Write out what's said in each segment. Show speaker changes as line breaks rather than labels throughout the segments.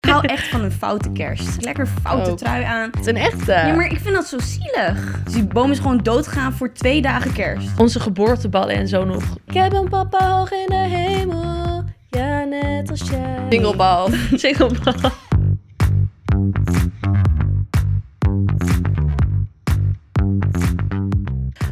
wel echt van een foute kerst. Lekker foute
Ook.
trui aan.
Het is een echte.
Ja, maar ik vind dat zo zielig. Dus die boom is gewoon doodgegaan voor twee dagen kerst.
Onze geboorteballen en zo nog. Ik heb een papa hoog in de hemel. Ja, net als jij. Singlebal. Singlebal.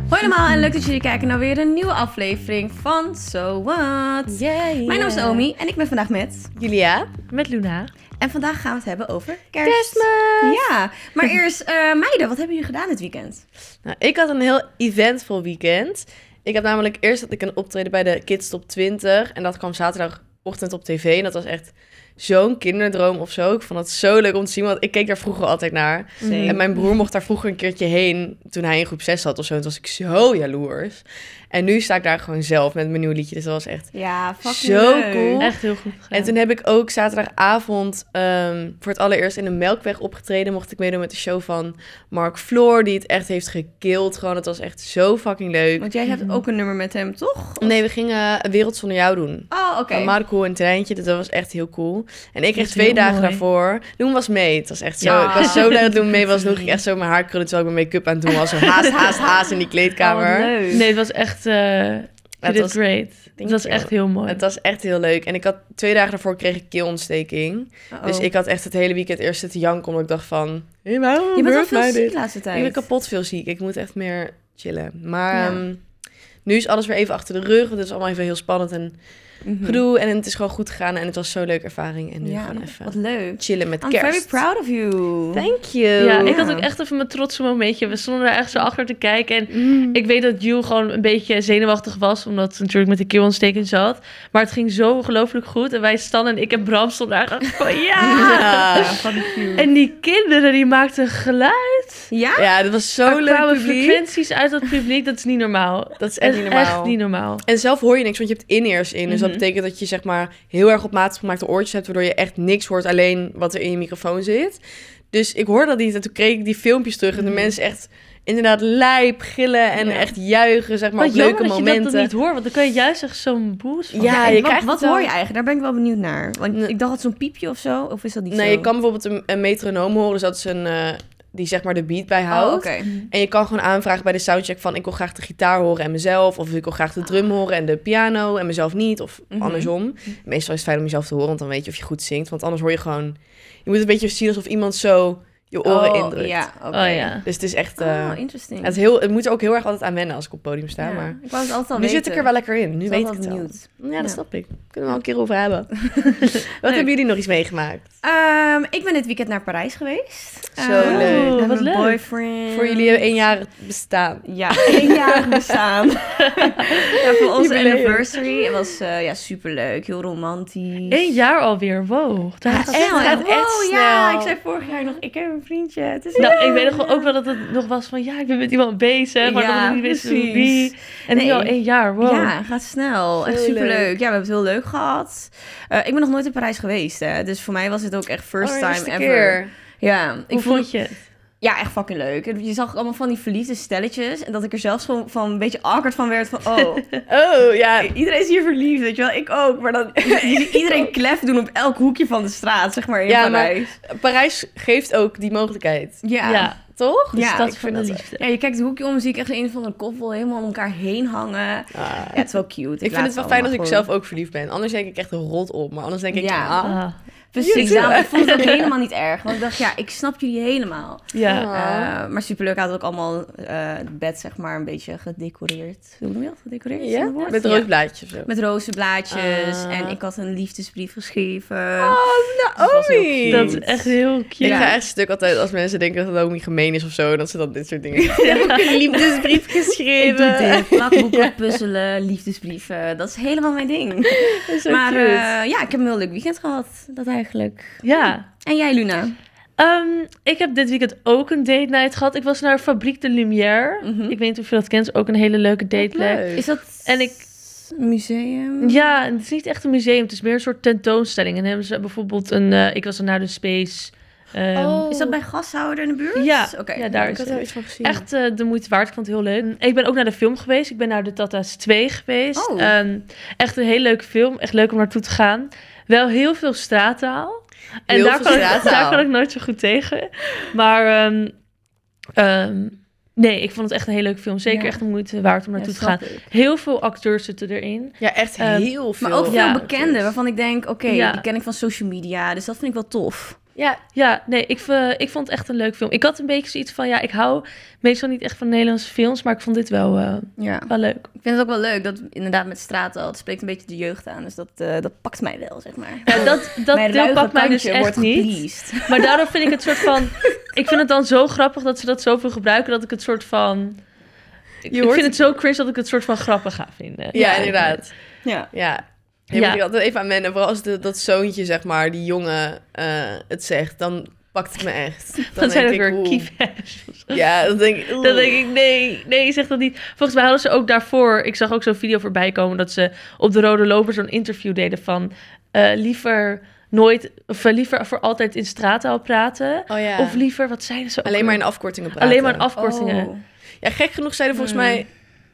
Hoi allemaal en leuk dat jullie kijken naar weer een nieuwe aflevering van So What.
Yay.
Mijn naam is Naomi en ik ben vandaag met.
Julia.
Met Luna.
En vandaag gaan we het hebben over kerst.
Kerstmis.
Ja, maar eerst eh, meiden, wat hebben jullie gedaan dit weekend?
Nou, ik had een heel eventvol weekend. Ik heb namelijk eerst dat ik een optreden bij de Kids Top 20. En dat kwam zaterdagochtend op tv. En dat was echt zo'n kinderdroom of zo. Ik vond het zo leuk om te zien, want ik keek daar vroeger altijd naar. En mijn broer mocht daar vroeger een keertje heen toen hij in groep 6 zat of zo. En toen was ik zo jaloers. En nu sta ik daar gewoon zelf met mijn nieuw liedje. Dus dat was echt
Ja, fucking
Zo
leuk.
cool.
Echt heel goed gedaan.
En toen heb ik ook zaterdagavond ehm, voor het allereerst in de Melkweg opgetreden. Mocht ik meedoen met de show van Mark Floor, die het echt heeft gekild. Gewoon, het was echt zo fucking leuk.
Want jij hebt ook een nummer met hem, toch?
Nee, we gingen Een Wereld Zonder Jou doen.
Oh, oké.
Van Marco en Treintje, dus dat was echt heel cool. En ik kreeg
is
twee
heel
dagen
mooi. Ah.
daarvoor. Doen was mee. Het was echt zo.
Ja.
Ik was zo blij dat Doen mee was. Toen ging ik echt zo mijn haar krullen terwijl ik mijn make-up aan het doen was. Zo haast, haast, haast
Oh,
in die kleedkamer.
leuk.
Nee, het was echt... eh
het
you did
was-
great. Het was
you.
echt heel mooi.
Het was echt heel leuk. En ik had twee dagen daarvoor kreeg ik keelontsteking.
Uh-oh.
Dus ik had echt het hele weekend eerst zitten janken, omdat ik dacht van... Hey, waarom
Je bent wel
gebeurt mij
veel ziek
dit?
de laatste tijd.
Ik ben kapot veel ziek. Ik moet echt meer chillen. Maar
Ja.
ehm, nu is alles weer even achter de rug, want het is allemaal even heel spannend en
Mhm.
gedoe. En het is gewoon goed gegaan en het was zo'n leuke ervaring. En nu
Ja,
gewoon
wat
even
leuk.
chillen met
I'm
kerst.
very proud of you.
Thank you.
ja, ik
Ja.
had ook echt even mijn trotse momentje. We stonden daar echt zo achter te kijken. En
Mm.
ik weet dat Jules gewoon een beetje zenuwachtig was. Omdat ze natuurlijk met de keelontsteking zat. Maar het ging zo ongelooflijk goed. En wij, Stan en ik en Bram stonden daar echt van ja.
Ja.
En die kinderen die maakten geluid.
Ja?
ja, dat was
Er
zo'n Oh, leuk
kwamen
publiek.
frequenties uit dat publiek. Dat is niet normaal.
Dat is echt niet normaal.
Echt niet normaal.
En zelf hoor je niks, want je hebt in-ears in. Dus dat
Mhm.
betekent dat je zeg maar heel erg op maat gemaakte oortjes hebt, waardoor je echt niks hoort, alleen wat er in je microfoon zit. Dus ik hoorde dat niet en toen kreeg ik die filmpjes terug en de
Mhm.
mensen echt inderdaad lijp, gillen en
Ja.
echt juichen, zeg maar,
Wat
op leuke
jammer dat je dat
momenten.
dan niet hoort. Want dan kan je juist echt zo'n boost van
Ja,
en
je
wat,
krijgt
wat
het
hoor
wel.
je eigenlijk? Daar ben ik wel benieuwd naar. Want
Nee.
ik dacht dat zo'n piepje of zo. Of is dat niet
nee,
zo?
je kan bijvoorbeeld een, een metronoom horen, dus dat is een eh, die zeg maar de beat
Oh,
bijhoudt.
oké.
En je kan gewoon aanvragen bij de soundcheck van ik wil graag de gitaar horen en mezelf. Of ik wil graag de drum horen en de piano en mezelf niet. Of
Mhm.
andersom. Meestal is het fijn om jezelf te horen, want dan weet je of je goed zingt. Want anders hoor je gewoon... Je moet een beetje zien alsof iemand zo je oren
Oh,
indrukt.
Ja, oké.
Oh ja.
Dus het is echt... eh,
Oh, interesting.
het, heel, het moet er ook heel erg altijd aan wennen als ik op het podium sta.
Ja,
Maar
Ik was het altijd al
nu zit ik er wel lekker in. Nu weet ik het al.
benieuwd.
Ja, dat
Ja.
snap ik. Kunnen we wel een keer over hebben. Wat hebben jullie nog iets meegemaakt?
Ehm, ik ben dit weekend naar Parijs geweest.
Zo
Ehm,
leuk.
met
Wat
mijn
leuk.
boyfriend.
Voor jullie een jaar bestaan.
Ja, één jaar bestaan. ja, voor onze
Jubileum.
anniversary. Het was eh ja, superleuk. Heel romantisch.
Eén jaar alweer, wow. Daar gaat-
snel,
het
hè?
gaat
Wow,
Ja,
ja.
ik zei vorig jaar nog, ik heb een vriendje. Het is
nou,
heel
ik weet nog wel-
leuk.
ook wel dat het nog was van... ja, ik ben met iemand bezig, maar
Ja,
nog niet wist
precies.
wie. En
Nee.
nu al één jaar, wow.
Ja, het gaat snel. Echt
Heel
superleuk. Ja,
leuk.
we hebben het heel leuk gehad. Eh, ik ben nog nooit in Parijs geweest, hè. Dus voor mij was het ook echt first
Oh,
time
Allereerste
ever.
keer.
Ja, ik
Hoe
vond het
vond je het?
ja, echt fucking leuk. En Je zag allemaal van die verliefde stelletjes. En dat ik er zelfs gewoon van een beetje awkward van werd. Van, oh,
Oh, ja.
iedereen is hier verliefd, weet je wel. Ik ook. Maar dan iedereen klef doen op elk hoekje van de straat, zeg maar, in
Ja, maar-
Parijs.
Parijs geeft ook die mogelijkheid.
Ja.
Ja, dus
Toch?
de
Ja,
stad
ik
van
vind
de
dat-
liefde.
Ja, je kijkt het hoekje om, zie ik echt een van een koppel helemaal om elkaar heen hangen.
Ah.
Ja, het is wel cute.
Ik vind het wel fijn als ik
zelf
zelf ook verliefd ben. Anders denk ik echt rot op. Maar anders denk ik,
Ja.
ah.
Ah,
Precies,
Jullie
daarom, ik vond het ook helemaal niet erg. Want ik dacht, ja, ik snap jullie helemaal.
ja.
Ah.
Eh, maar superleuk, hij had ook allemaal eh, het bed, zeg maar, een beetje gedecoreerd. Hoe noem je dat? Gedecoreerd? is dat een woord?
Met
Ja.
een rood blaadje of zo.
Met rozenblaadjes.
Ah. Oh,
En ik had een liefdesbrief geschreven.
Naomi!
was heel cute.
Dat is echt heel cute.
Ik
Ja.
ga echt stuk altijd als mensen denken dat Naomi gemeen is of zo. Dat ze dan dit soort dingen Ik heb ook een liefdesbrief
Ik doe
geschreven.
dit, plakboeken, puzzelen, liefdesbrieven. Dat is helemaal mijn ding. Maar eh, ja, ik heb een heel leuk weekend gehad. Dat eigenlijk.
Ja.
En jij, Luna?
Ehm, ik heb dit weekend ook een date night gehad. Ik was naar Fabriek de Lumière.
Mhm.
Ik weet niet of je dat kent. is Ook een hele leuke date night.
Is dat
En ik-
een museum?
Ja, en het is niet echt een museum. Het is meer een soort tentoonstelling. En dan hebben ze bijvoorbeeld een... eh, ik was dan naar de Space. ehm,
Is dat bij gashouder in de buurt?
Ja.
Oké.
Ja, daar
Oh, Ik
is
had
het.
daar iets van gezien.
Echt eh, de moeite waard. Ik vond het heel
Mm.
leuk. Ik ben ook naar de film geweest. Ik ben naar de Tata's 2 geweest.
Oh.
Ehm, echt een hele leuke film. Echt leuk om naartoe te gaan. Wel heel veel straattaal. En
Heel
daar
veel
kan, ik,
straattaal.
daar kan ik nooit zo goed tegen. Maar ehm, ehm, nee, ik vond het echt een heel leuke film. Zeker
Ja.
echt de moeite waard om naartoe te gaan.
grappig.
Heel veel acteurs zitten erin.
Ja, echt
Ehm,
heel veel.
Maar ook veel
Ja,
bekenden waarvan ik denk, oké,
Ja.
die ken ik van social media. Dus dat vind ik wel tof.
Ja,
Ja, nee, ik, v- ik vond het echt een leuk film. Ik had een beetje zoiets van, ja, ik hou meestal niet echt van Nederlandse films, maar ik vond dit wel, eh,
Ja.
wel leuk.
Ik vind het ook wel leuk dat inderdaad met straattaal, het spreekt een beetje de jeugd aan. Dus dat, eh, dat pakt mij wel, zeg maar.
Ja, dat dat
Mijn
deel
ruige
pakt mij dus
kantje
echt
wordt
niet.
gepleased.
Maar daardoor vind ik het soort van. Ik vind het dan zo grappig dat ze dat zoveel gebruiken dat ik het soort van. Ik,
Je
ik
hoort-
vind het zo cringe dat ik het soort van grappig ga vinden.
ja inderdaad.
Ja.
Ja.
Ja.
Daar moet ik altijd even aan wennen. Vooral als de, dat zoontje, zeg maar, die jongen eh, het zegt, dan pakt het me echt. Dan
Dan zijn
denk
er
ik,
weer
oeh.
kievers.
Ja, dan denk ik...
Dan denk ik, nee, nee, zeg dat niet. Volgens mij hadden ze ook daarvoor, ik zag ook zo'n video voorbij komen, dat ze op de Rode Loper zo'n interview deden van eh, liever nooit, of eh, liever voor altijd in straattaal praten.
Oh ja.
Of liever, wat zeiden ze ook
Alleen maar in
weer?
afkortingen praten.
Alleen maar in afkortingen.
Oh.
Ja, gek genoeg zeiden volgens
Hmm.
mij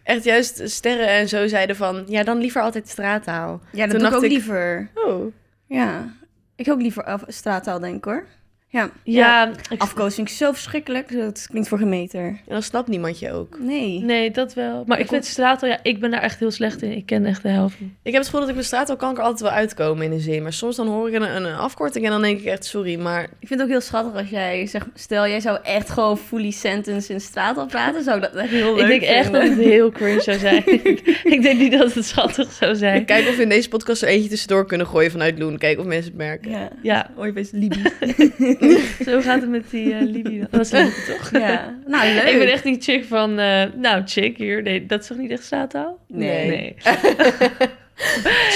echt juist sterren en zo zeiden van... Ja, dan liever altijd straattaal.
Ja, dat doe
Toen
ik
dacht
ook
ik-
liever.
Oh.
Ja. Ik ook liever af- straattaal, denk ik hoor. Ja.
Ja, ik-
Afkoos vind ik zo verschrikkelijk. Dat klinkt voor geen meter.
En dan snapt niemand je ook.
Nee.
nee, dat wel. Maar ik vind straattaal, ja, ik ben daar echt heel slecht in. Ik ken echt de helft. niet.
Ik heb het gevoel dat ik met straattaalkanker altijd wel uitkomen in een zin. Maar soms dan hoor ik een, een afkorting en dan denk ik echt... Sorry, maar
Ik vind het ook heel schattig als jij zegt... Stel, jij zou echt gewoon fully sentence in straattaal praten. Zou ik dat echt heel leuk
Ik denk echt dat
vinden.
het heel cringe zou zijn. ik denk niet dat het schattig zou zijn.
Kijken of we in deze podcast er eentje tussendoor kunnen gooien vanuit Loen. Kijken of mensen het merken.
Ja.
Ja,
Oh, je bent Libi.
zo gaat het met die eh Libi. Dat is Libi, toch?
ja. Nou, leuk.
Ik ben echt die chick van, eh, nou, chick hier. Nee, dat is toch niet echt straattaal?
Nee.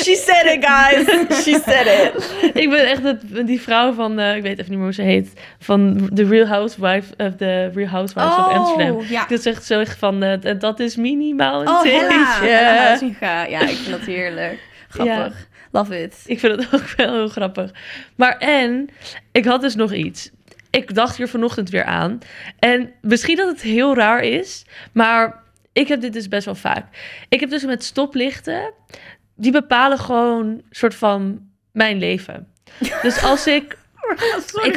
She said it,
Oh.
guys. She said it.
ik ben echt het, die vrouw van, eh, ik weet even niet meer hoe ze heet, van The Real Housewife of the Real Housewives
Oh.
of Amsterdam.
Ja.
Dat is echt zo echt van, eh, dat is minimaal een
Oh,
tientje.
Hella. Hella Huizinga. Ja, ik vind dat heerlijk. Grappig. Love it.
Ik vind het ook wel heel grappig. Maar en, ik had dus nog iets. Ik dacht hier vanochtend weer aan. En misschien dat het heel raar is, maar ik heb dit dus best wel vaak. Ik heb dus met stoplichten, die bepalen gewoon soort van mijn leven. Dus als ik ik,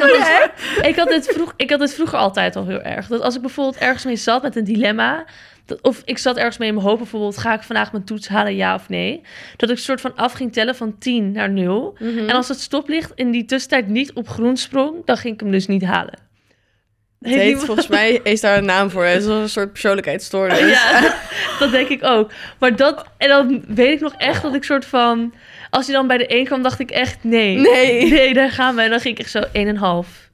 Oh,
had dus- dit, ik, had dit vroeg, ik had dit vroeger altijd al heel erg. Dat als ik bijvoorbeeld ergens mee zat met een dilemma. Dat, of ik zat ergens mee in mijn hoofd bijvoorbeeld. Ga ik vandaag mijn toets halen, ja of nee? Dat ik soort van af ging tellen van 10 naar 0.
Mhm.
En als het stoplicht in die tussentijd niet op groen sprong, dan ging ik hem dus niet halen.
Het
Heeft
heet,
iemand-
volgens mij is daar een naam voor. Het is wel een soort persoonlijkheidsstoornis.
Ja, dat denk ik ook. Maar dat, en dan weet ik nog echt dat ik soort van. Als hij dan bij de een kwam, dacht ik echt nee.
Nee.
Nee, daar gaan we. En dan ging ik echt zo 1,5.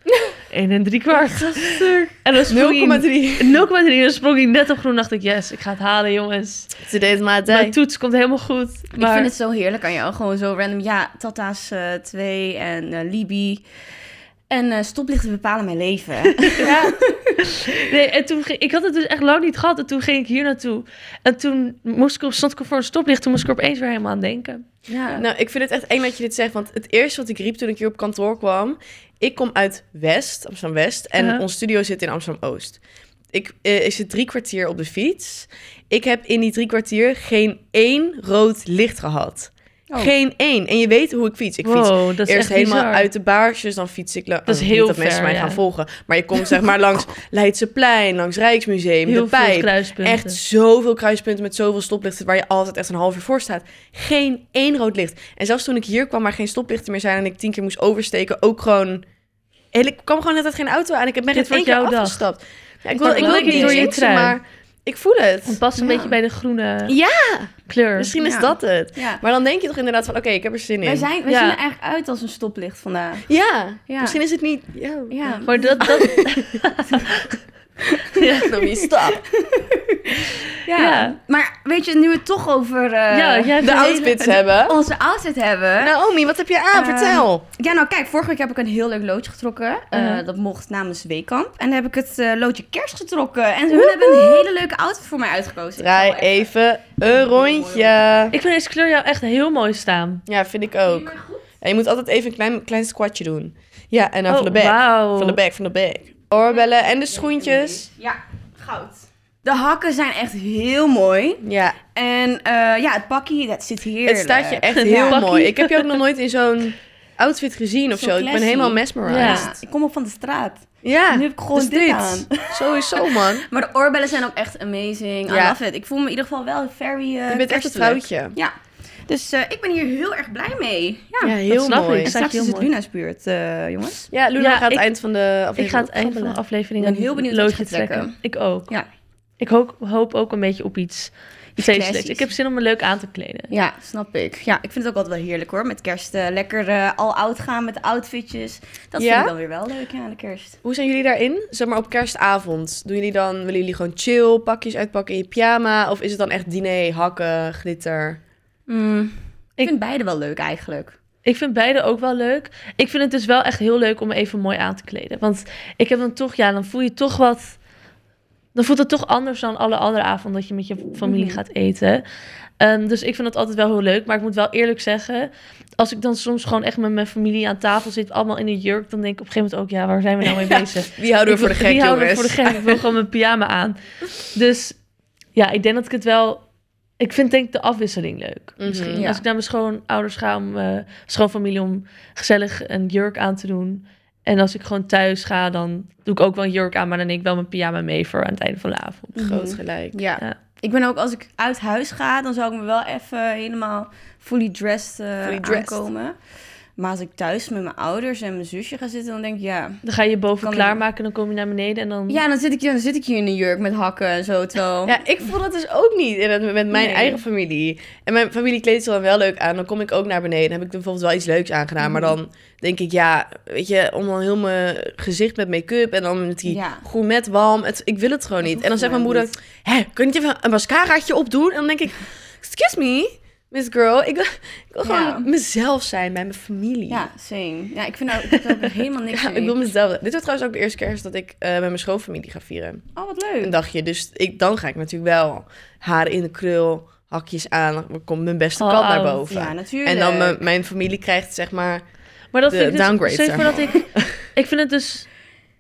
1 en drie kwart. En dan sprong hij
0,3.
0,3 en dan sprong hij net op groen. dacht ik, yes, ik ga het halen, jongens.
Ze deed maar
Mijn
tijd.
toets komt helemaal goed.
Ik
Maar
vind het zo heerlijk aan jou. Gewoon zo random. Ja, Tata's 2 en eh, Libi. En eh, stoplichten bepalen mijn leven.
nee, en toen ging, ik had het dus echt lang niet gehad. En toen ging ik hier naartoe. En toen moest ik, op- stond ik voor een stoplicht. Toen moest ik er opeens weer helemaal aan denken.
ja.
Nou, ik vind het echt eng dat je dit zegt. Want het eerste wat ik riep toen ik hier op kantoor kwam... Ik kom uit West, Amsterdam-West. En
Uh-huh.
ons studio zit in Amsterdam-Oost. Ik, eh, ik zit drie kwartier op de fiets. Ik heb in die drie kwartier geen één rood licht gehad.
Oh.
Geen één. En je weet hoe ik fiets. Ik fiets
Wow, dat is
eerst
echt
helemaal
bizar.
uit de baarsjes, dan fiets ik... la-
Dat is
oh,
heel
niet dat mensen
ver,
mij
ja.
gaan volgen. Maar je komt zeg maar langs Leidseplein, langs Rijksmuseum,
Heel
De
veel
Pijp.
kruispunten.
Echt zoveel kruispunten met zoveel stoplichten... waar je altijd echt een half uur voor staat. Geen één rood licht. En zelfs toen ik hier kwam, waar geen stoplichten meer zijn... en ik tien keer moest oversteken, ook gewoon... En ik kwam gewoon net uit geen auto aan. Ik heb me
Dit
net één
wordt
keer
jouw dag.
afgestapt. Ja, ik
Maar
wil, ik wil
gelukkig
niet
door je
jinxen,
trui.
maar ik voel
Het
het.
past een
Ja.
beetje bij de groene
Ja.
kleur.
Misschien is
Ja.
dat het.
Ja.
Maar dan denk je toch inderdaad van... oké, ik heb er zin in.
Wij, zijn, wij
Ja.
zien er eigenlijk uit als een stoplicht vandaag.
Ja,
Ja.
misschien is het niet... Ja,
Ja.
Maar dat... dat ja.
dan wie stap.
Ja.
Ja.
Maar weet je, nu we het toch over eh,
ja, jij hebt
De
een hele-
outfits hebben.
onze outfit hebben.
Naomi, wat heb je aan?
Ehm,
Eh,
Vertel.
Ja, nou kijk, vorige week heb ik een heel leuk loodje getrokken. Eh,
Uh-huh.
Dat mocht namens Weekamp. En dan heb ik het eh, loodje kerst getrokken. En hun hebben een hele leuke outfit voor mij uitgekozen. Ik
Draai
zal wel even-
even een rondje.
Ik vind deze kleur jou echt heel mooi staan.
Ja, vind ik ook. En je moet altijd even een klein, klein squatje doen. Ja, en dan van Nou, de back.
Oh, wauw.
Van de back, van de back. Oorbellen en de schoentjes.
Ja, goud. De hakken zijn echt heel mooi.
Ja,
En eh, ja, het pakje, dat zit hier.
het staat je echt
Ja.
heel
Pakkie.
mooi. Ik heb je ook nog nooit in zo'n outfit gezien of
Zo
zo. Ik ben
classy.
helemaal
Ja,
mesmerized.
ik kom op van de straat.
Ja,
nu heb ik gewoon
dus
dit aan.
Sowieso, man.
Maar de oorbellen zijn ook echt amazing. I
Ja.
love it. Ik voel me in ieder geval wel very eh
Je bent echt een
kerstelijk.
vrouwtje.
Ja. Dus eh, ik ben hier heel erg blij mee. Ja.
Ja,
En
dat
heel
snap
mooi.
ik. Staat
straks
heel
is het
mooi.
Luna's buurt, eh, jongens.
Ja, Luna
Ja,
gaat
ik-
het eind van de aflevering
Ik ga het eind van de
opgrabbelen.
aflevering
Ik ben
een
heel benieuwd wat
loodje
je gaat
trekken.
trekken.
Ik ook.
Ja.
Ik hoop, hoop ook een beetje op iets.
Iets
feestelijks.
classies.
Ik heb zin om me leuk aan te kleden.
Ja, snap ik. Ja, ik vind het ook altijd wel heerlijk hoor. Met kerst eh, lekker eh, al oud gaan met outfitjes. Dat
Ja?
vind ik dan weer wel leuk aan de kerst.
Hoe zijn jullie daarin? Zeg maar op kerstavond. Doen jullie dan, willen jullie gewoon chill, pakjes uitpakken in je pyjama? Of is het dan echt diner, hakken, glitter?
Mm, Ik
Ik-
vind beide wel leuk eigenlijk.
Ik vind beide ook wel leuk. Ik vind het dus wel echt heel leuk om me even mooi aan te kleden. Want ik heb dan toch, ja, dan voel je toch wat. Dan voelt het toch anders dan alle andere avonden dat je met je familie
Mhm.
gaat eten. Ehm, dus ik vind dat altijd wel heel leuk. Maar ik moet wel eerlijk zeggen, als ik dan soms gewoon echt met mijn familie aan tafel zit, allemaal in een jurk, dan denk ik op een gegeven moment ook, ja, waar zijn we nou mee bezig?
Wie houden we
Ik
voor de
wil-
gek,
die houden we
jongens?
voor de gek. Ik wil gewoon mijn pyjama aan. Dus ja, ik denk dat ik het wel... Ik vind denk ik de afwisseling leuk.
Mhm.
Misschien
Ja.
als ik naar mijn schoonouders ga, om, eh, schoonfamilie, om gezellig een jurk aan te doen. En als ik gewoon thuis ga, dan doe ik ook wel een jurk aan, maar dan neem ik wel mijn pyjama mee voor aan het einde van de avond.
Groot gelijk.
Ja.
Ja.
Ik ben ook, als ik uit huis ga, dan zou ik me wel even helemaal fully dressed, eh
Fully dressed.
aankomen. Maar als ik thuis met mijn ouders en mijn zusje ga zitten, dan denk ik ja.
Mm.
Dan ga je je boven
Kan ik-
klaarmaken, dan kom je naar beneden en dan...
Ja, dan zit ik, dan zit ik hier in een jurk met hakken en zo. Terwijl...
Ja, ik voel dat dus ook niet in het, met mijn
Oh. Nee.
eigen familie. En mijn familie kleedt zich dan wel leuk aan. Dan kom ik ook naar beneden. Dan heb ik bijvoorbeeld wel iets leuks aangedaan.
Mm.
Maar dan denk ik, ja, weet je, om dan heel mijn gezicht met make-up en dan met die
Ja.
groen met walm. Het, ik wil het gewoon niet.
hoeft
En dan zegt mijn
gewoon
moeder, hè, kun je niet even een mascaraatje opdoen? En dan denk ik, excuse me, miss girl. Ik wil, ik wil
Ja.
gewoon mezelf zijn bij mijn familie.
Ja, same. Ja, ik vind ook, ik heb ook helemaal niks
Ja,
mee.
ik wil mezelf. Dit wordt trouwens ook de eerste kerst dat ik eh, met mijn schoonfamilie ga vieren
Oh, wat
een
leuk.
dagje. Dus ik, dan ga ik natuurlijk wel haar in de krul, hakjes aan. Dan komt mijn beste
All
kant naar
out.
boven.
Ja, natuurlijk.
en dan mijn, mijn familie krijgt zeg maar...
Maar dat
De
vind ik dus,
downgrade,
stel je
zeg
voor dat ik... Ik vind het dus...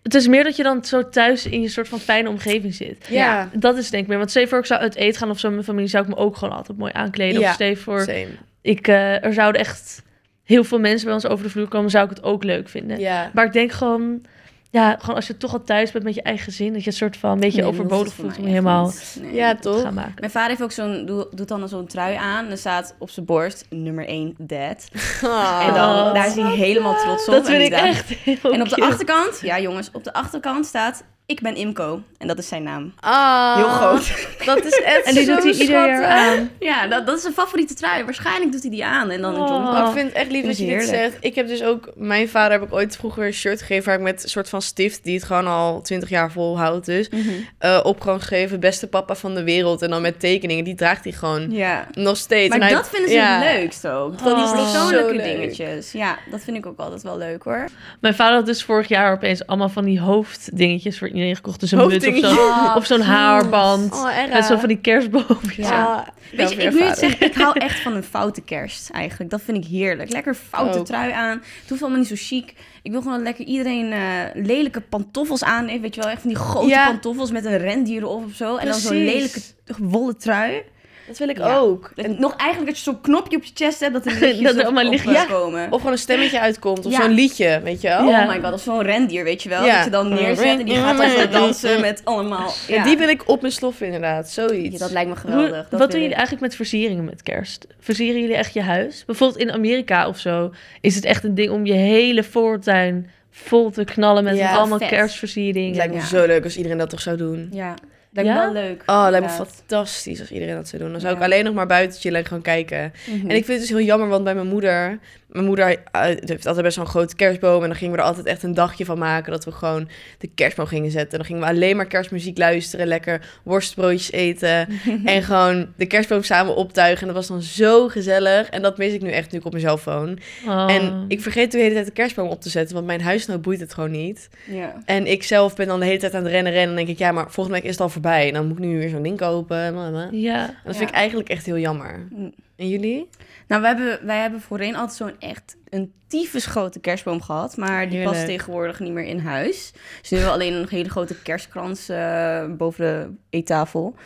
Het is meer dat je dan zo thuis in je soort van fijne omgeving zit.
Ja,
Dat is denk ik meer. Want stel je voor ik zou uit eten gaan of zo met mijn familie, zou ik me ook gewoon altijd mooi aankleden.
Ja,
Of stel je voor
same.
ik, eh, er zouden echt heel veel mensen bij ons over de vloer komen, zou ik het ook leuk vinden.
Ja.
Maar ik denk gewoon, ja, gewoon als je toch al thuis bent met je eigen gezin, dat je een soort van een beetje
Nee, dat
overbodig
hoeft voor
voelt om
mij
je
echt
helemaal
niet. Nee.
ja,
te
toch?
gaan maken.
Mijn vader heeft ook zo'n, doe- doet dan zo'n trui aan. En er staat op zijn borst nummer 1, dad.
Ah.
en dan,
Oh.
daar is hij helemaal trots op.
dat vind
en
ik
die dad-
echt heel
En op de
cute.
achterkant, ja jongens, op de achterkant staat... Ik ben Imco. En dat is zijn naam. Oh.
Ah.
Heel groot.
Dat is echt
En die
zo
doet hij ieder jaar
schattig.
aan.
Ja, dat, dat is zijn favoriete trui. Waarschijnlijk doet hij die aan. En dan een
Oh.
jongpak.
Oh, ik vind het echt lief
Vind
dat je
ik
dit
heerlijk.
zegt. Ik heb dus ook... Mijn vader heb ik ooit vroeger een shirt gegeven... waar ik met een soort van stift... die het gewoon al 20 jaar volhoudt dus...
Mhm.
eh, op gewoon geschreven... beste papa van de wereld. En dan met tekeningen. Die draagt hij gewoon
Ja.
nog steeds.
Maar
En hij-
dat vinden ze
ja.
het leukst ook.
Oh.
Dat die persoonlijke
Zo leuk.
dingetjes. Ja, dat vind ik ook altijd wel leuk hoor.
Mijn vader had dus vorig jaar opeens allemaal van die hoofddingetjes voor iedereen gekocht. Dus een muts of
Hoofddingetjes.
zo. Of zo'n haarband.
Oh, erg.
Met zo van die kerstboompjes.
Ja. Weet je, ik nu
wil
het zeggen, ik hou echt van een foute kerst eigenlijk. Dat vind ik heerlijk. Lekker foute
Ook.
trui aan. Het hoeft allemaal niet zo chic. Ik wil gewoon lekker iedereen eh, lelijke pantoffels aan heeft. Weet je wel, echt van die grote
Ja.
pantoffels met een rendier erop of zo. En dan zo'n lelijke
Precies.
wollen trui.
Dat wil ik
Ja.
ook.
En nog eigenlijk dat je zo'n knopje op je chest hebt, dat er lichtjes
Dat er
op-
allemaal
op,
lichtjes-
eh, komen.
Of gewoon een stemmetje uitkomt. Of
Ja.
zo'n liedje, weet je wel.
Ja.
Ja.
Oh my god, of zo'n rendier, weet je wel.
Ja.
Dat je dan neerzet en die gaat even dansen met allemaal... Ja,
die wil ik op mijn sloffen inderdaad. Zoiets.
Ja, dat lijkt me geweldig.
Hoe-
Dat wil
wat doen
ik.
jullie eigenlijk met versieringen met kerst? Versieren jullie echt je huis? Bijvoorbeeld in Amerika of zo is het echt een ding om je hele voortuin vol te knallen met
Ja,
allemaal
vet.
Het
kerstversieringen.
lijkt me
Ja.
zo leuk als iedereen dat toch zou doen.
Ja, lijkt me
Ja?
wel leuk.
Oh, het lijkt me
inderdaad.
fantastisch als iedereen dat zou doen. Dan zou
Ja.
ik alleen nog maar buiten chillen en gewoon kijken.
Mhm.
En ik vind het dus heel jammer, want bij mijn moeder... Mijn moeder eh, heeft altijd best wel een grote kerstboom. En dan gingen we er altijd echt een dagje van maken. Dat we gewoon de kerstboom gingen zetten. En dan gingen we alleen maar kerstmuziek luisteren. Lekker worstbroodjes eten. en gewoon de kerstboom samen optuigen. En dat was dan zo gezellig. En dat mis ik nu echt nu ik op mijn telefoon.
Oh.
En ik vergeet de hele tijd de kerstboom op te zetten. Want mijn huisnood boeit het gewoon niet.
Ja.
En ik zelf ben dan de hele tijd aan het rennen, rennen. En dan denk ik, ja, maar volgende week is het al voorbij. En dan moet ik nu weer zo'n ding kopen. En blablabla. En
Ja.
dat
Ja.
vind ik eigenlijk echt heel jammer.
Mm.
En jullie?
Nou, wij hebben, wij hebben voorheen altijd zo'n echt een tyfus grote kerstboom gehad. Maar die
Heerlijk.
past tegenwoordig niet meer in huis. Dus nu hebben we alleen een hele grote kerstkrans eh, boven de eettafel.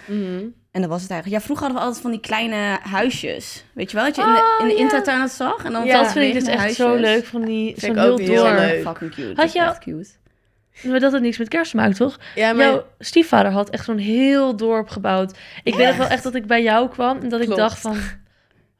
En dat was het eigenlijk. Ja, vroeger hadden we altijd van die kleine huisjes. Weet je wel, dat je in de, in de
Oh, ja.
intratuin dat zag? En dan
dat
was
vind ik dus echt zo leuk van die
Vind
zo'n
ik ook
heel
heel
door.
leuk.
Fucking cute.
Had
Had
je
je
al-
echt cute.
Maar dat had niks met kerst te maken, toch?
Ja, maar
Jouw stiefvader had echt zo'n heel dorp gebouwd. Ik weet nog wel echt dat ik bij jou kwam en dat
Klopt.
ik dacht van...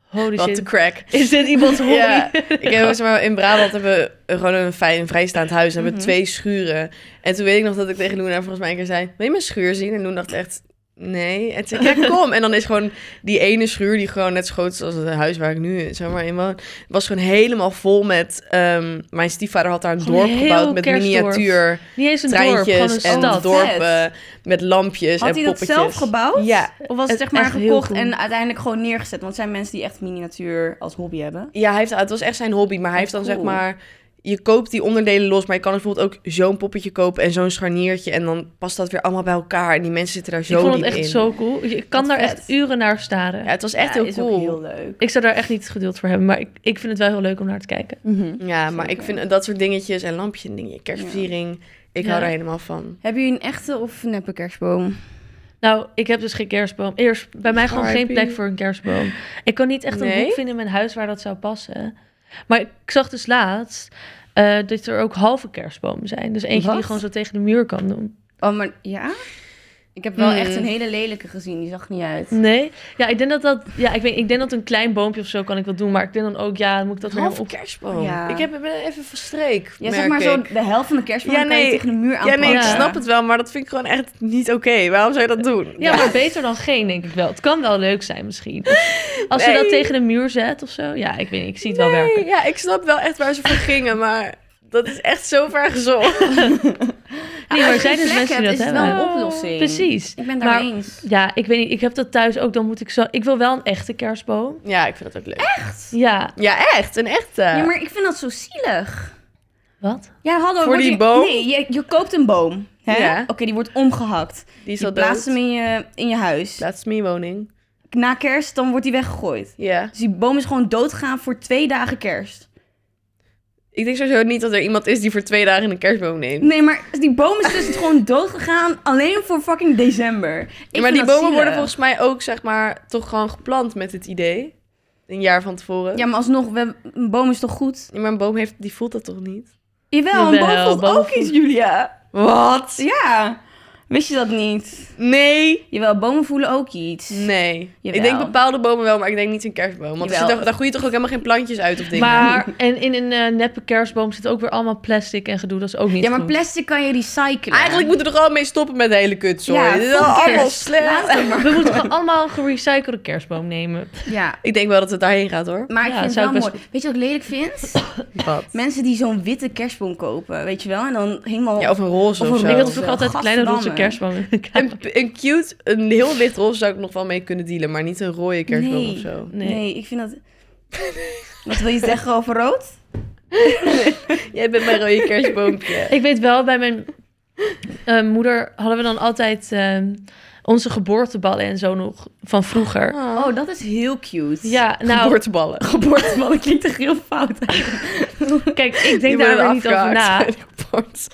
Holy
wat
shit,
de crack.
is dit iemands hobby?
Ja, Ik heb, zeg maar, in Brabant hebben we gewoon een fijn een vrijstaand huis. en hebben we
Mhm.
twee schuren. En toen weet ik nog dat ik tegen Luna volgens mij een keer zei... Wil je mijn schuur zien? En Luna dacht echt... Nee. En toen zei ik, "Ja, kom. En dan is gewoon die ene schuur die gewoon net zo groot is als het huis waar ik nu zeg maar, in woon... was gewoon helemaal vol met... ehm, mijn stiefvader had daar een
Gewoon een
dorp
heel
gebouwd met
kerstdorp.
miniatuur
Niet eens een dorp, gewoon een
treintjes en
stad.
dorp.
dorpen met lampjes en
Had hij dat
Dus poppetjes.
zelf gebouwd?
Ja.
Of was het
Het
zeg
is
maar
echt heel
gekocht
cool.
en uiteindelijk gewoon neergezet? Want het zijn mensen die echt miniatuur als hobby hebben.
Ja, hij heeft, het was echt zijn hobby. Maar hij heeft dan
Cool.
zeg maar... Je koopt die onderdelen los, maar je kan dus bijvoorbeeld ook zo'n poppetje kopen en zo'n scharniertje. En dan past dat weer allemaal bij elkaar. En die mensen zitten daar zo
ik vond het
diep
echt
in.
zo cool. Ik kan
Wat
daar
vet.
echt uren naar staren.
Ja, het was echt
Ja,
heel
is
cool.
ook heel leuk.
Ik zou daar echt niet het geduld voor hebben, maar ik, ik vind het wel heel leuk om naar te kijken.
Ja, maar ik vind dat soort dingetjes en lampjes en dingen, kerstversiering, ik
Ja.
hou daar helemaal van.
Hebben jullie een echte of neppe kerstboom?
Nou, ik heb dus geen kerstboom. Eerst, bij mij gewoon
RIP.
geen plek voor een kerstboom. Ik kan niet echt een
Nee?
hoek vinden in mijn huis waar dat zou passen. Maar ik zag dus laatst eh, dat er ook halve kerstbomen zijn. Dus eentje
Wat?
die gewoon zo tegen de muur kan doen.
Oh, maar ja? Ik heb wel
Hmm.
echt een hele lelijke gezien. Die zag er niet uit.
Nee? Ja, ik denk dat dat... Ja, ik, weet, ik denk dat een klein boompje of zo kan ik wel doen. Maar ik denk dan ook, ja, dan moet ik dat weer
Half
op...
kerstboom.
Ja.
Ik heb, ik ben even van streek,
Ja, zeg
merk
maar
ik.
zo de helft van de kerstboom
Ja,
kan je
nee.
tegen de muur
Ja,
aanpakken.
nee, ik
Ja.
snap het wel, maar dat vind ik gewoon echt niet oké. Waarom zou je dat doen?
Ja, maar beter dan geen, denk ik wel. Het kan wel leuk zijn misschien. Of Als je
Nee.
dat tegen de muur zet of zo. Ja, ik weet niet. Ik zie het wel
Nee,
werken.
Ja, ik snap wel echt waar ze voor gingen, maar dat is echt zo ver gezocht.
Ah,
Nee, maar er zijn dus mensen die dat
is het
hebben.
wel een oplossing.
Precies.
Ik ben daar
Maar-
eens.
Ja, ik weet niet. Ik heb dat thuis ook. Dan moet ik zo. Ik wil wel een echte kerstboom.
Ja, ik vind dat ook leuk.
Ja.
Ja, echt. Een echte.
Ja, maar ik vind dat zo zielig.
Wat?
Ja, hallo.
Voor
word
die
je-
boom?
Nee, je, je koopt een boom. Hè?
Ja.
Oké, die wordt omgehakt.
die is
Je
al
plaatst hem
dood.
in je, in je huis.
Laatst mijn woning.
Na kerst, dan wordt die weggegooid.
Ja.
Dus die boom is gewoon doodgaan voor twee dagen kerst.
Ik denk sowieso niet dat er iemand is die voor twee dagen een kerstboom neemt.
Nee, maar die boom is dus gewoon doodgegaan alleen voor fucking december. Ik
Ja,
vind
maar die
dat
bomen
zielig.
worden volgens mij ook, zeg maar, toch gewoon geplant met het idee. Een jaar van tevoren.
Ja, maar alsnog, we, hebben- een boom is toch goed?
Ja, maar een boom heeft, die voelt dat toch niet?
Jawel, een
Jawel,
boom voelt
boom
ook iets, Julia.
Wat?
Ja, wist je dat niet?
Nee.
Jawel, bomen voelen ook iets.
Nee.
Jawel.
Ik denk bepaalde bomen wel, maar ik denk niet een kerstboom. Want er
Jawel.
zitten- daar groeien toch ook helemaal geen plantjes uit of dingen.
Maar en in een eh, neppe kerstboom zit ook weer allemaal plastic en gedoe. Dat is ook niet
Ja, maar
goed.
plastic kan je recyclen.
Eigenlijk moeten we er gewoon mee stoppen met de hele kutzooi.
Ja,
Dit is
fuck
allemaal
kerst.
slecht.
Laat het maar.
We moeten gewoon allemaal een gerecyclede kerstboom nemen.
Ja,
Ik denk wel dat het daarheen gaat hoor.
maar ik
Ja,
vind het
zou
wel
ik
mooi.
best-
Weet je wat ik lelijk vind?
Wat?
Mensen die zo'n witte kerstboom kopen, weet je wel? En dan helemaal...
Ja, of een roze
Of
of,
een
zo.
Ik
roze.
had vroeger altijd een kleine roze kerstboom in de kamer.
Een, een cute, een heel licht roze zou ik nog wel mee kunnen dealen, maar niet een rode kerstboom
nee,
of zo.
Nee.
Nee.
ik vind dat... Wat wil je zeggen over rood?
Jij bent mijn rode kerstboompje.
Ik weet wel, bij mijn eh, moeder hadden we dan altijd eh, onze geboorteballen en zo nog van vroeger.
Oh,
Oh, dat is heel cute.
Ja, nou,
Geboorteballen.
Geboorteballen klinkt echt heel fout.
kijk, ik
Die
denk daar
worden
weer niet over na.
afgehaakt. Geboorte-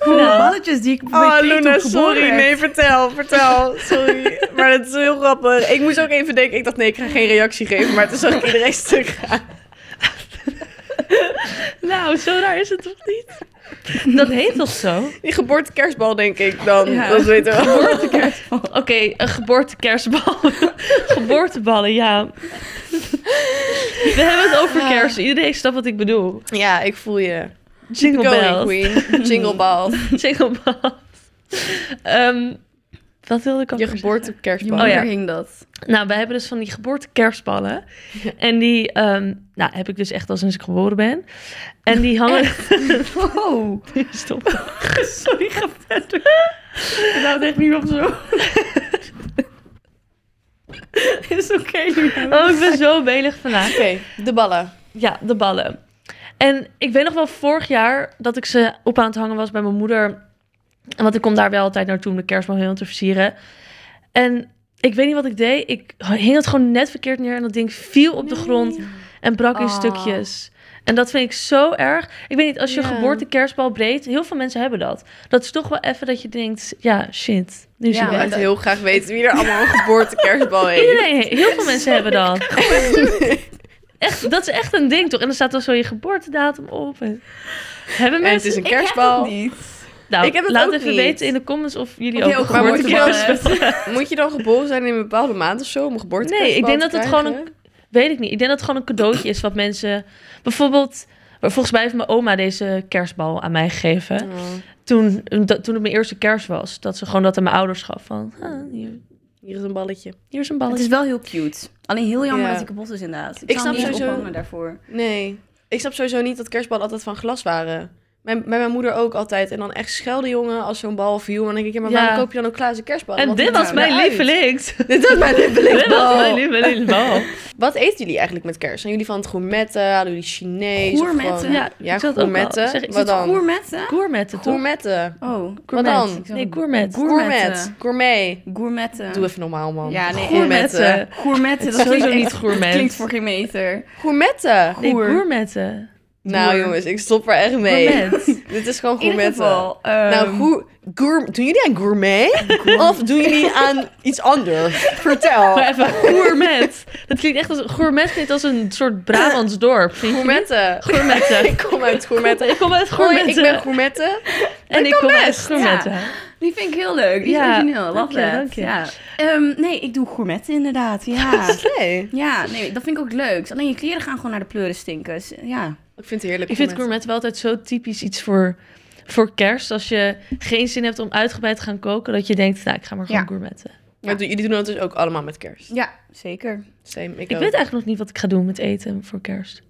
Hoeveel
Nou.
balletjes die ik met
Oh,
Peter
Luna,
heb geboren
sorry.
heb.
Nee, vertel, vertel. Sorry. Maar het is heel grappig. Ik moest ook even denken, ik dacht nee, ik ga geen reactie geven, maar toen zag ik iedereen stuk gaan.
Nou, zo raar is het toch niet? Dat heet toch zo?
Die geboortekerstbal denk ik dan,
Ja.
dat weten we wel.
Oké, een geboortekerstbal. Geboorteballen, ja. We hebben het over kerst. Iedereen snapt wat ik bedoel.
Ja, ik voel je.
Jingle
Going
bells.
queen. Jingle bells.
Jingle bells. Ehm, wat wilde ik al
Je geboortekerstbal.
Oh,
Oh
ja.
ja.
ging dat.
Nou, we hebben dus van die geboortekerstballen. En die ehm, nou, heb ik dus echt al sinds ik geboren ben. En die hangen... Oh,
Wow.
Stop.
Sorry, ga verder. Ik hou het echt niet op zo. is oké, Luna.
Oh, ik ben zo belig vandaag.
Oké, de ballen.
Ja, de ballen. En ik weet nog wel vorig jaar dat ik ze op aan het hangen was bij mijn moeder. Want ik kom daar wel altijd naartoe om de kerstboom helemaal te versieren. En ik weet niet wat ik deed. Ik hing het gewoon net verkeerd neer en dat ding viel op de grond en brak in
Ah.
stukjes. En dat vind ik zo erg. Ik weet niet, als je
Ja.
geboorte kerstbal breed, heel veel mensen hebben dat. Dat is toch wel even dat je denkt, ja, shit, nu is
Ja,
Ik
hij
wil
maar
weg.
echt heel graag weten wie er allemaal een geboortekerstbal heeft.
Iedereen, heel veel mensen hebben dat. Echt, dat is echt een ding, toch? En dan staat dan zo je geboortedatum op. En... Hebben
En het
mensen...
is een kerstbal.
niet.
Nou,
ik heb het
laat
ook
even
niet.
weten in de comments of jullie
Of
ook
je
een
ook geboorte-
geboortekerstbal
kerstbal
hebben.
Moet je dan geboren zijn in een bepaalde maand of zo om een geboortekerstbal
Nee, ik denk
te
dat het
krijgen?
gewoon Weet ik niet. Ik denk dat het gewoon een cadeautje is wat mensen... Bijvoorbeeld, volgens mij heeft mijn oma deze kerstbal aan mij gegeven.
Oh,
Toen, dat, toen het mijn eerste kerst was. Dat ze gewoon dat aan mijn ouders gaf. Van, ah, hier,
hier is een balletje.
hier is een
Het
balletje.
is wel heel cute. Alleen heel jammer
Ja.
dat hij kapot is inderdaad. Ik,
Ik
zou
snap
hem niet
sowieso-
ophangen daarvoor.
Nee. Ik snap sowieso niet dat kerstballen altijd van glas waren. Mijn, bij mijn moeder ook altijd. En dan echt schelde jongen als zo'n bal viel. En dan denk ik, ja, maar
Ja.
waarom koop je dan ook glazen kerstballen?
En
Want
dit
die
was
doen
mijn
eruit.
lievelings.
Dit was mijn
Dit was mijn
lievelingsbal.
lievelingsbal.
Wat eten jullie eigenlijk met kerst? Zijn jullie van het gourmetten? Hadden jullie Chinees? of
Gourmetten?
gewoon-
Ja,
ja
ik zat ook al.
gourmetten.
Zeg, is
Is
Wat
het
dan?
gourmet, hè?
Gourmetten, toch?
Gourmetten.
Oh,
Wat
gourmet.
dan?
Ik zou-
Nee, gourmet.
Gourmet.
Gourmetten.
Gourmet.
Gourmetten.
Doe even normaal, man.
Ja, nee,
Gourmetten.
Gourmetten.
Gourmetten, dat
Sowieso
klinkt echt-
niet gourmet.
dat klinkt voor geen meter.
Gourmetten.
Nee,
Goer.
gourmetten.
Nou
Goer.
jongens, ik stop er echt mee.
Gourmet.
Dit is gewoon
In ieder
gourmetten.
geval. ehm,
nou, goer, gour, doen jullie aan gourmet? of doen jullie aan iets anders? Vertel.
Maar even gourmet. Dat klinkt echt als... Gourmet klinkt als een soort Brabants dorp. vind je niet?
Gourmetten.
Gourmetten.
Ik kom uit gourmetten.
Ik kom uit
Hoi,
gourmetten.
ik ben gourmetten.
en ik kom uit
best.
gourmetten.
Die vind ik heel leuk. Die is
Ja,
origineel.
dank
Love
je,
that.
dank je.
Ja. Ehm, nee, ik doe gourmetten inderdaad.
Ah.
Ja.
Nee.
ja, nee, dat vind ik ook leuk. Alleen je kleren gaan gewoon naar de pleurenstinkers. Ja.
Ik vind het heerlijk.
Ik vind gourmet wel altijd zo typisch iets voor, voor kerst. Als je geen zin hebt om uitgebreid te gaan koken, dat je denkt, nou, ik ga maar gewoon
Ja.
gourmetten.
Maar doen- jullie doen dat dus ook allemaal met kerst.
Ja, zeker.
Same, ik,
Ik
ook.
weet eigenlijk nog niet wat ik ga doen met eten voor kerst.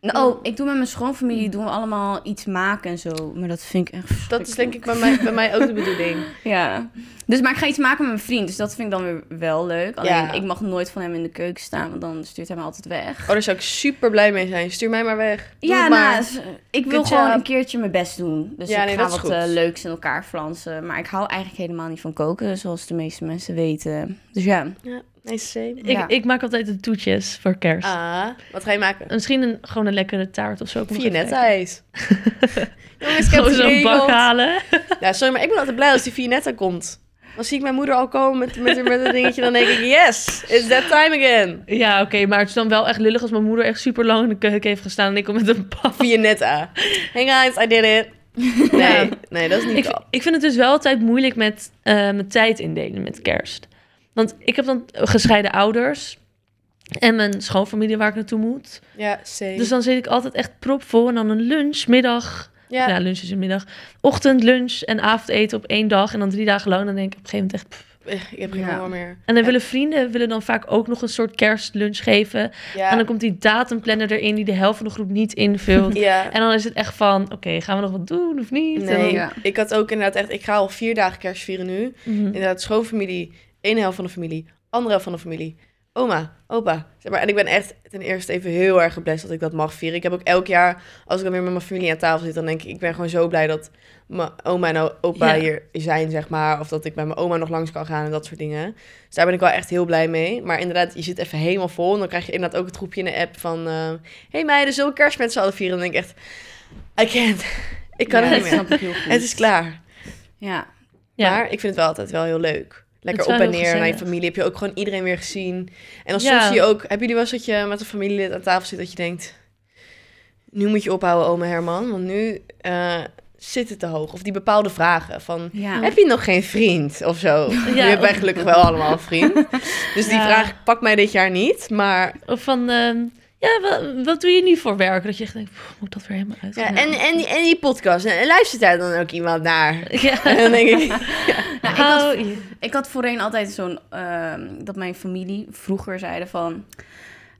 Nou, oh, ik doe met mijn schoonfamilie doen we allemaal iets maken en zo. Maar dat vind ik echt
Dat is denk ik bij mij, bij mij ook de bedoeling.
Ja. Dus, maar ik ga iets maken met mijn vriend. Dus dat vind ik dan weer wel leuk. Alleen
Ja.
ik mag nooit van hem in de keuken staan, want dan stuurt hij me altijd weg.
Oh, daar zou ik super blij mee zijn. Stuur mij maar weg. Doe
ja,
het maar.
nou, s- ik wil
Good
gewoon
job.
een keertje mijn best doen. Dus
Ja,
ik
nee,
ga
dat is
wat
goed.
eh, leuks in elkaar flansen. Maar ik hou eigenlijk helemaal niet van koken, zoals de meeste mensen weten. Dus ja.
Ja, nee, same.
Ik,
Ja.
ik maak altijd de toetjes voor kerst.
Ah, wat ga je maken?
En Misschien een, gewoon een lekkere taart of zo.
Via netijs. Jongens, ik heb
Gewoon
het
zo'n bak
geregeld.
halen.
Ja, sorry, maar ik ben altijd blij als die Vianetta komt. Dan zie ik mijn moeder al komen met, met, met een dingetje. Dan denk ik, yes, it's that time again.
Ja, oké, maar het is dan wel echt lullig als mijn moeder echt super lang in de keuken heeft gestaan en ik kom met een pan.
Vianetta. Hey guys, I did it. Nee, nee dat is niet
Ik,
al.
ik vind het dus wel altijd moeilijk met eh, mijn tijd indelen met kerst. Want ik heb dan gescheiden ouders en mijn schoonfamilie waar ik naartoe moet.
Ja, same.
Dus dan zit ik altijd echt propvol en dan een lunch, middag. Ja, lunch is een middag. Ochtend, lunch en avondeten op één dag en dan drie dagen lang. Dan denk ik op een gegeven moment echt... pff.
Eh, ik heb geen
Ja.
honger meer.
En dan willen vrienden willen dan vaak ook nog een soort kerstlunch geven.
Ja.
En dan komt die datumplanner erin die de helft van de groep niet invult.
ja.
En dan is het echt van, oké, gaan we nog wat doen of niet? En
Nee,
dan-
Ja.
ik had ook inderdaad echt... Ik ga al vier dagen kerst vieren nu.
Mhm.
Inderdaad, schoonfamilie, één helft van de familie, andere helft van de familie, oma, opa. Zeg maar. En ik ben echt ten eerste even heel erg geblest dat ik dat mag vieren. Ik heb ook elk jaar, als ik dan weer met mijn familie aan tafel zit, dan denk ik, ik ben gewoon zo blij dat mijn oma en o- opa
Ja.
hier zijn, zeg maar. Of dat ik bij mijn oma nog langs kan gaan en dat soort dingen. Dus daar ben ik wel echt heel blij mee. Maar inderdaad, je zit even helemaal vol en dan krijg je inderdaad ook het groepje in de app van, eh, hey meiden, zullen we kerst met z'n allen vieren? En dan denk ik echt, I can't. Ik kan
ja,
het
dat
niet meer.
snap ik heel goed.
Het is klaar.
Ja.
Ja.
Maar ik vind het wel altijd wel heel leuk. Lekker
Het
op
is wel
en
heel
neer naar je
gezellig.
familie. Heb je ook gewoon iedereen weer gezien. En dan
Ja.
soms zie je ook... Hebben jullie wel eens dat je met een familielid aan tafel zit dat je denkt... Nu moet je ophouden, oma Herman. Want nu eh, zit het te hoog. Of die bepaalde vragen van...
Ja.
Heb je nog geen vriend of zo? Je hebt
of-
wij gelukkig wel allemaal een vriend. Dus die
Ja.
vraag pakt mij dit jaar niet. Maar
Of van, ehm, ja, wat, wat doe je nu voor werk? Dat je echt denkt, "Pff, moet ik dat weer helemaal uit?
ja, en, en, die- en die podcast. En, en luistert daar dan ook iemand naar? En
Ja.
dan denk ik...
Nou, ik had
Oh, je-
Ik had voorheen altijd zo'n... ehm, dat mijn familie vroeger zeiden van...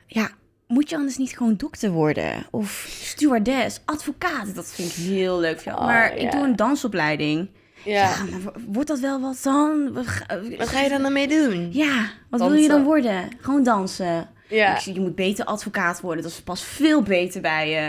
Ja, moet je anders niet gewoon dokter worden? Of stewardess, advocaat. Dat vind ik heel leuk. van jou.
Oh,
maar
ja.
ik doe een dansopleiding. Ja,
Ja.
maar wo- wordt dat wel wat dan? We ga-
Wat ga je dan dan mee doen?
Ja, wat wil je dan
Dansen.
worden? Gewoon dansen.
Ja.
Ik zie, je moet beter advocaat worden. Dat is pas veel beter bij je. Ja,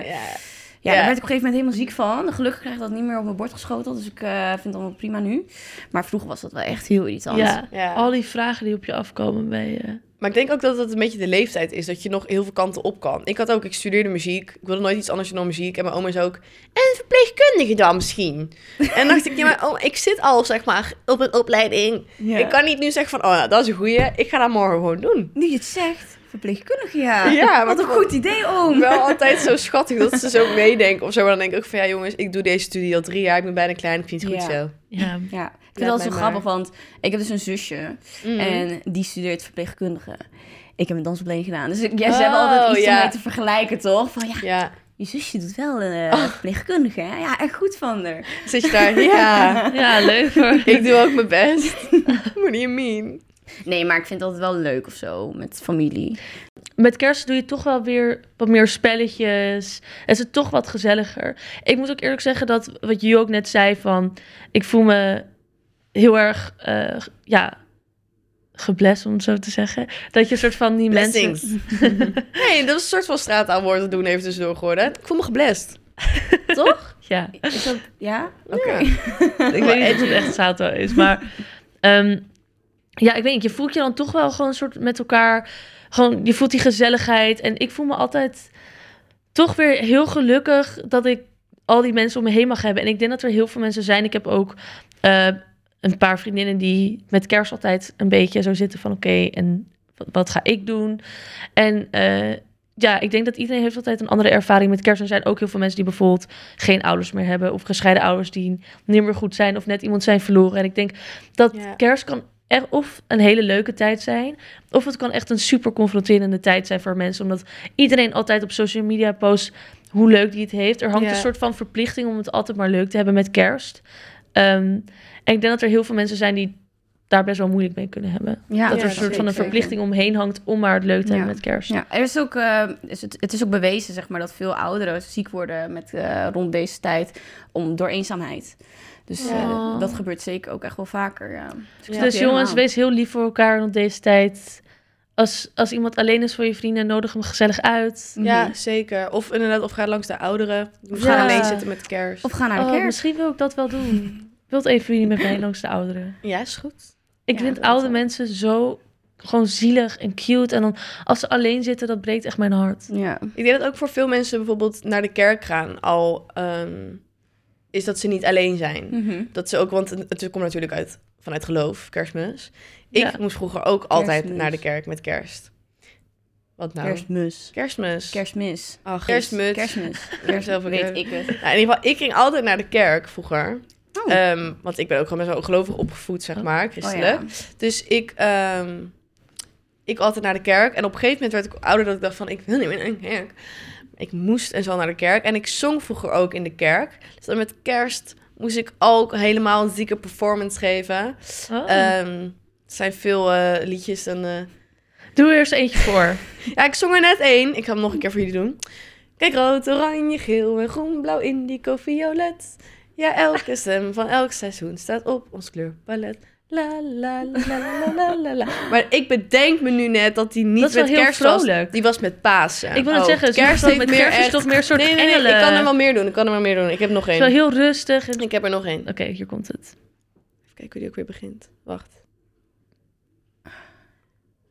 ja.
daar werd ik op een gegeven moment helemaal ziek van. Gelukkig krijg ik dat niet meer op mijn bord geschoteld. Dus ik eh, vind het allemaal prima nu. Maar vroeger was dat wel echt heel irritant.
ja.
Ja.
al die vragen die op je afkomen bij je.
Maar ik denk ook dat dat een beetje de leeftijd is. Dat je nog heel veel kanten op kan. Ik had ook, ik studeerde muziek. Ik wilde nooit iets anders doen dan muziek. En mijn oma is ook, en verpleegkundige dan misschien. en dacht ik, ja, maar oh, ik zit al, zeg maar, op een opleiding.
Ja.
Ik kan niet nu zeggen van, oh ja, dat is een goeie. Ik ga dat morgen gewoon doen.
Nu je het zegt, verpleegkundige, ja.
Ja,
Wat
maar
een goed idee, oom.
wel altijd zo schattig dat ze zo meedenken of zo. Maar dan denk ik ook van, ja jongens, ik doe deze studie al drie jaar. Ik ben bijna klein, ik vind het goed
Ja.
zo.
Ja.
Ja, ik vind
Laat
dat
mij
zo
maar.
grappig, want ik heb dus een zusje
Mm.
Mhm.
en die studeert verpleegkundige. Ik heb een dansopleiding gedaan, dus ik- ja, ze
Oh,
hebben altijd iets
ja.
om mee te vergelijken, toch? Van ja,
Ja,
je zusje doet wel eh
Oh.
verpleegkundige, hè? Ja, echt goed van haar.
zit je daar? Ja,
ja, leuk hoor.
ik doe ook mijn best. What do you mean?
Nee, maar ik vind dat wel leuk of zo, met familie.
Met kerst doe je toch wel weer wat meer spelletjes. Het is toch wat gezelliger. Ik moet ook eerlijk zeggen dat wat je ook net zei van... Ik voel me heel erg, eh, ja, geblest om het zo te zeggen. Dat je soort van die mensen...
Blessings. Nee, dat is een soort van straataalwoord te doen even tussendoor geworden. Ik voel me geblest. Toch?
Ja,
Is dat, ja? Oké.
ik weet niet of het echt Sato is, maar... ehm, ja, ik weet niet, je voelt je dan toch wel gewoon een soort met elkaar... Gewoon, je voelt die gezelligheid. En ik voel me altijd toch weer heel gelukkig dat ik al die mensen om me heen mag hebben. En ik denk dat er heel veel mensen zijn. Ik heb ook eh, een paar vriendinnen die met kerst altijd een beetje zo zitten van... Oké, en wat, wat ga ik doen? En... eh, ja, ik denk dat iedereen heeft altijd een andere ervaring met kerst. En Er zijn ook heel veel mensen die bijvoorbeeld geen ouders meer hebben... of gescheiden ouders die niet meer goed zijn... of net iemand zijn verloren. En ik denk dat
Ja.
kerst kan echt of een hele leuke tijd zijn... of het kan echt een super confronterende tijd zijn voor mensen... omdat iedereen altijd op social media post hoe leuk die het heeft. Er hangt
Ja.
een soort van verplichting om het altijd maar leuk te hebben met kerst. Ehm, en ik denk dat er heel veel mensen zijn die daar best wel moeilijk mee kunnen hebben.
Ja,
dat
ja,
er een
dat
soort van
weet
een
ik zeker.
verplichting omheen hangt om maar het leuk te
Ja.
hebben met kerst.
Ja, er is ook, eh, is het, het is ook bewezen zeg maar, dat veel ouderen ziek worden met, eh, rond deze tijd om, door eenzaamheid. Dus eh,
Oh.
dat gebeurt zeker ook echt wel vaker. Ja. Dus, ik snap
Dus
je
jongens,
helemaal.
wees heel lief voor elkaar op deze tijd. Als, als iemand alleen is voor je vrienden, nodig hem gezellig uit.
Mhm.
Ja, zeker. Of inderdaad, of ga langs de ouderen. Of
Ja.
ga alleen zitten met kerst.
Of ga naar de
Oh,
kerst.
misschien wil ik dat wel doen. Wilt even jullie met mij langs de ouderen?
Ja, is goed.
Ik
Ja,
vind
dat
oude
wel.
mensen zo gewoon zielig en cute. En dan als ze alleen zitten, dat breekt echt mijn hart.
Ja.
Ik denk dat ook voor veel mensen bijvoorbeeld naar de kerk gaan al... ehm, is dat ze niet alleen zijn.
Mhm.
Dat ze ook, want het, het komt natuurlijk uit, vanuit geloof, kerstmis. Ik
Ja.
moest vroeger ook altijd
Kerstmis.
naar de kerk met kerst. Wat nou?
Kerstmus.
Kerstmis.
Kerstmis.
Ach, kerstmuts.
Kerstmis.
Zelf ook
Weet
weer.
ik het.
Nou, in ieder geval, ik ging altijd naar de kerk vroeger.
Oh.
Ehm, want ik ben ook gewoon best wel gelovig opgevoed, zeg maar,
Oh,
christelijk.
ja.
Dus ik, ehm, ik altijd naar de kerk. En op een gegeven moment werd ik ouder dat ik dacht van, ik wil niet meer naar de kerk. Ik moest en zal naar de kerk. En ik zong vroeger ook in de kerk. Dus dan met kerst moest ik ook helemaal een zieke performance geven.
Oh.
Ehm, er zijn veel eh, liedjes. En, eh,
Doe er eens eentje voor.
Ja, ik zong er net één. Ik ga hem nog een keer voor jullie doen. Kijk, rood, oranje, geel en groen, blauw, indigo, violet. Ja, elke stem van elk seizoen staat op ons kleurpalet. La, la, la, la, la, la, la, la. Maar ik bedenk me nu net dat die niet
Dat is wel
met
heel
kerst was.
vrolijk.
Die was met Pasen.
Ik wil het
Oh,
zeggen,
kerst
kerst
heeft
met
meer
kerst is
echt-
toch meer een soort
Nee, nee, nee,
engelen.
ik kan er wel meer doen. Ik kan er wel meer doen. Ik heb nog
Het is
één.
wel heel rustig. en- Oké,
Ik heb er nog één. Even
hier komt het.
kijken hoe die ook weer begint. Wacht.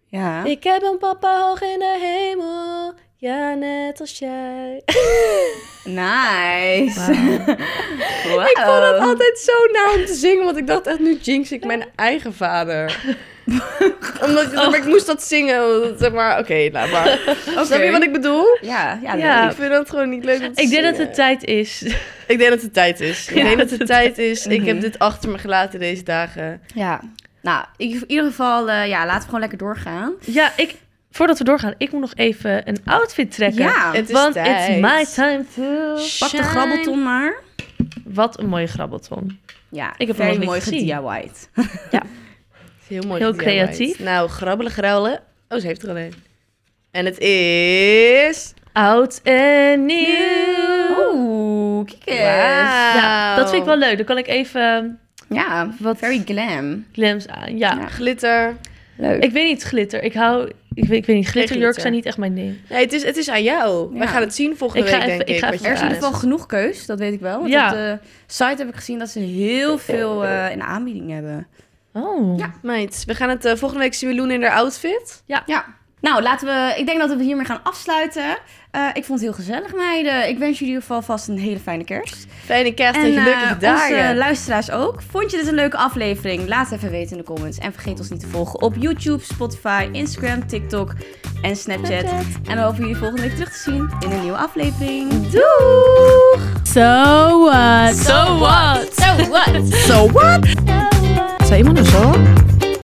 Ja.
Ik heb een papa hoog in de hemel. Ja, net als jij.
Nice.
Wauw.
Wow.
Ik vond
Ehm.
het altijd zo nauw om te zingen, want ik dacht echt, nu jinx ik mijn eigen vader. Omdat maar ik moest dat zingen, want, zeg maar, oké, laat maar. Snap je wat ik bedoel?
Ja, ja,
Ja.
leuk.
Ik vind dat gewoon niet leuk om te
Ik denk dat
zingen.
het tijd is.
Ik denk dat het tijd is. Ik
Ja.
denk dat het tijd is. Ik heb
Mhm.
dit achter me gelaten deze dagen.
Ja. Nou, in ieder- in ieder geval, eh, ja, laten we gewoon lekker doorgaan.
Ja, ik, voordat we doorgaan, ik moet nog even een outfit trekken.
Ja.
Het is
Want
tijd.
it's my time to...
Pak de grabbelton maar.
Wat een mooie grabbelton.
Ja,
Ik heb hem nog
very
niet
mooi
gezien.
gediawaaid.
Heel mooi.
Heel
gedaan,
creatief.
meid. Nou, grabbelen, grabbelen. Oh, ze heeft er alleen. En het is...
Oud en nieuw.
Oeh, kijk eens.
Ja, dat vind ik wel leuk. Dan kan ik even
Ja,
Wat-
very glam.
glams aan. Ja.
Ja.
Glitter.
Leuk.
Ik weet niet, glitter. Ik hou... Ik weet, ik weet niet,
glitter.
glitterjurken zijn niet echt mijn ding.
Nee, het is, het is aan jou.
Ja.
Wij gaan het zien volgende
Ik ga
week,
even-
denk
ik
ik.
ga
wat
even
je
Er is in
aan
ieder
hebt.
geval genoeg keus, dat weet ik wel. Want
Ja.
op de site heb ik gezien dat ze heel veel eh, in de aanbieding hebben.
Oh.
Ja.
Meid, we gaan het eh, volgende week zien we Loen in haar outfit.
Ja. Nou, laten we. Ik denk dat we hiermee gaan afsluiten. Eh, ik vond het heel gezellig, meiden. Ik wens jullie in ieder geval vast een hele fijne kerst.
Fijne kerst en,
eh,
gelukkige dagen.
onze luisteraars ook. Vond je dit een leuke aflevering? Laat het even weten in de comments. En vergeet ons niet te volgen op YouTube, Spotify, Instagram, TikTok en Snapchat. En we hopen jullie volgende week terug te zien in een nieuwe aflevering. Doeg!
So what?
So what?
So what?
Zo,
So
what?
what?
Zei iemand een zo?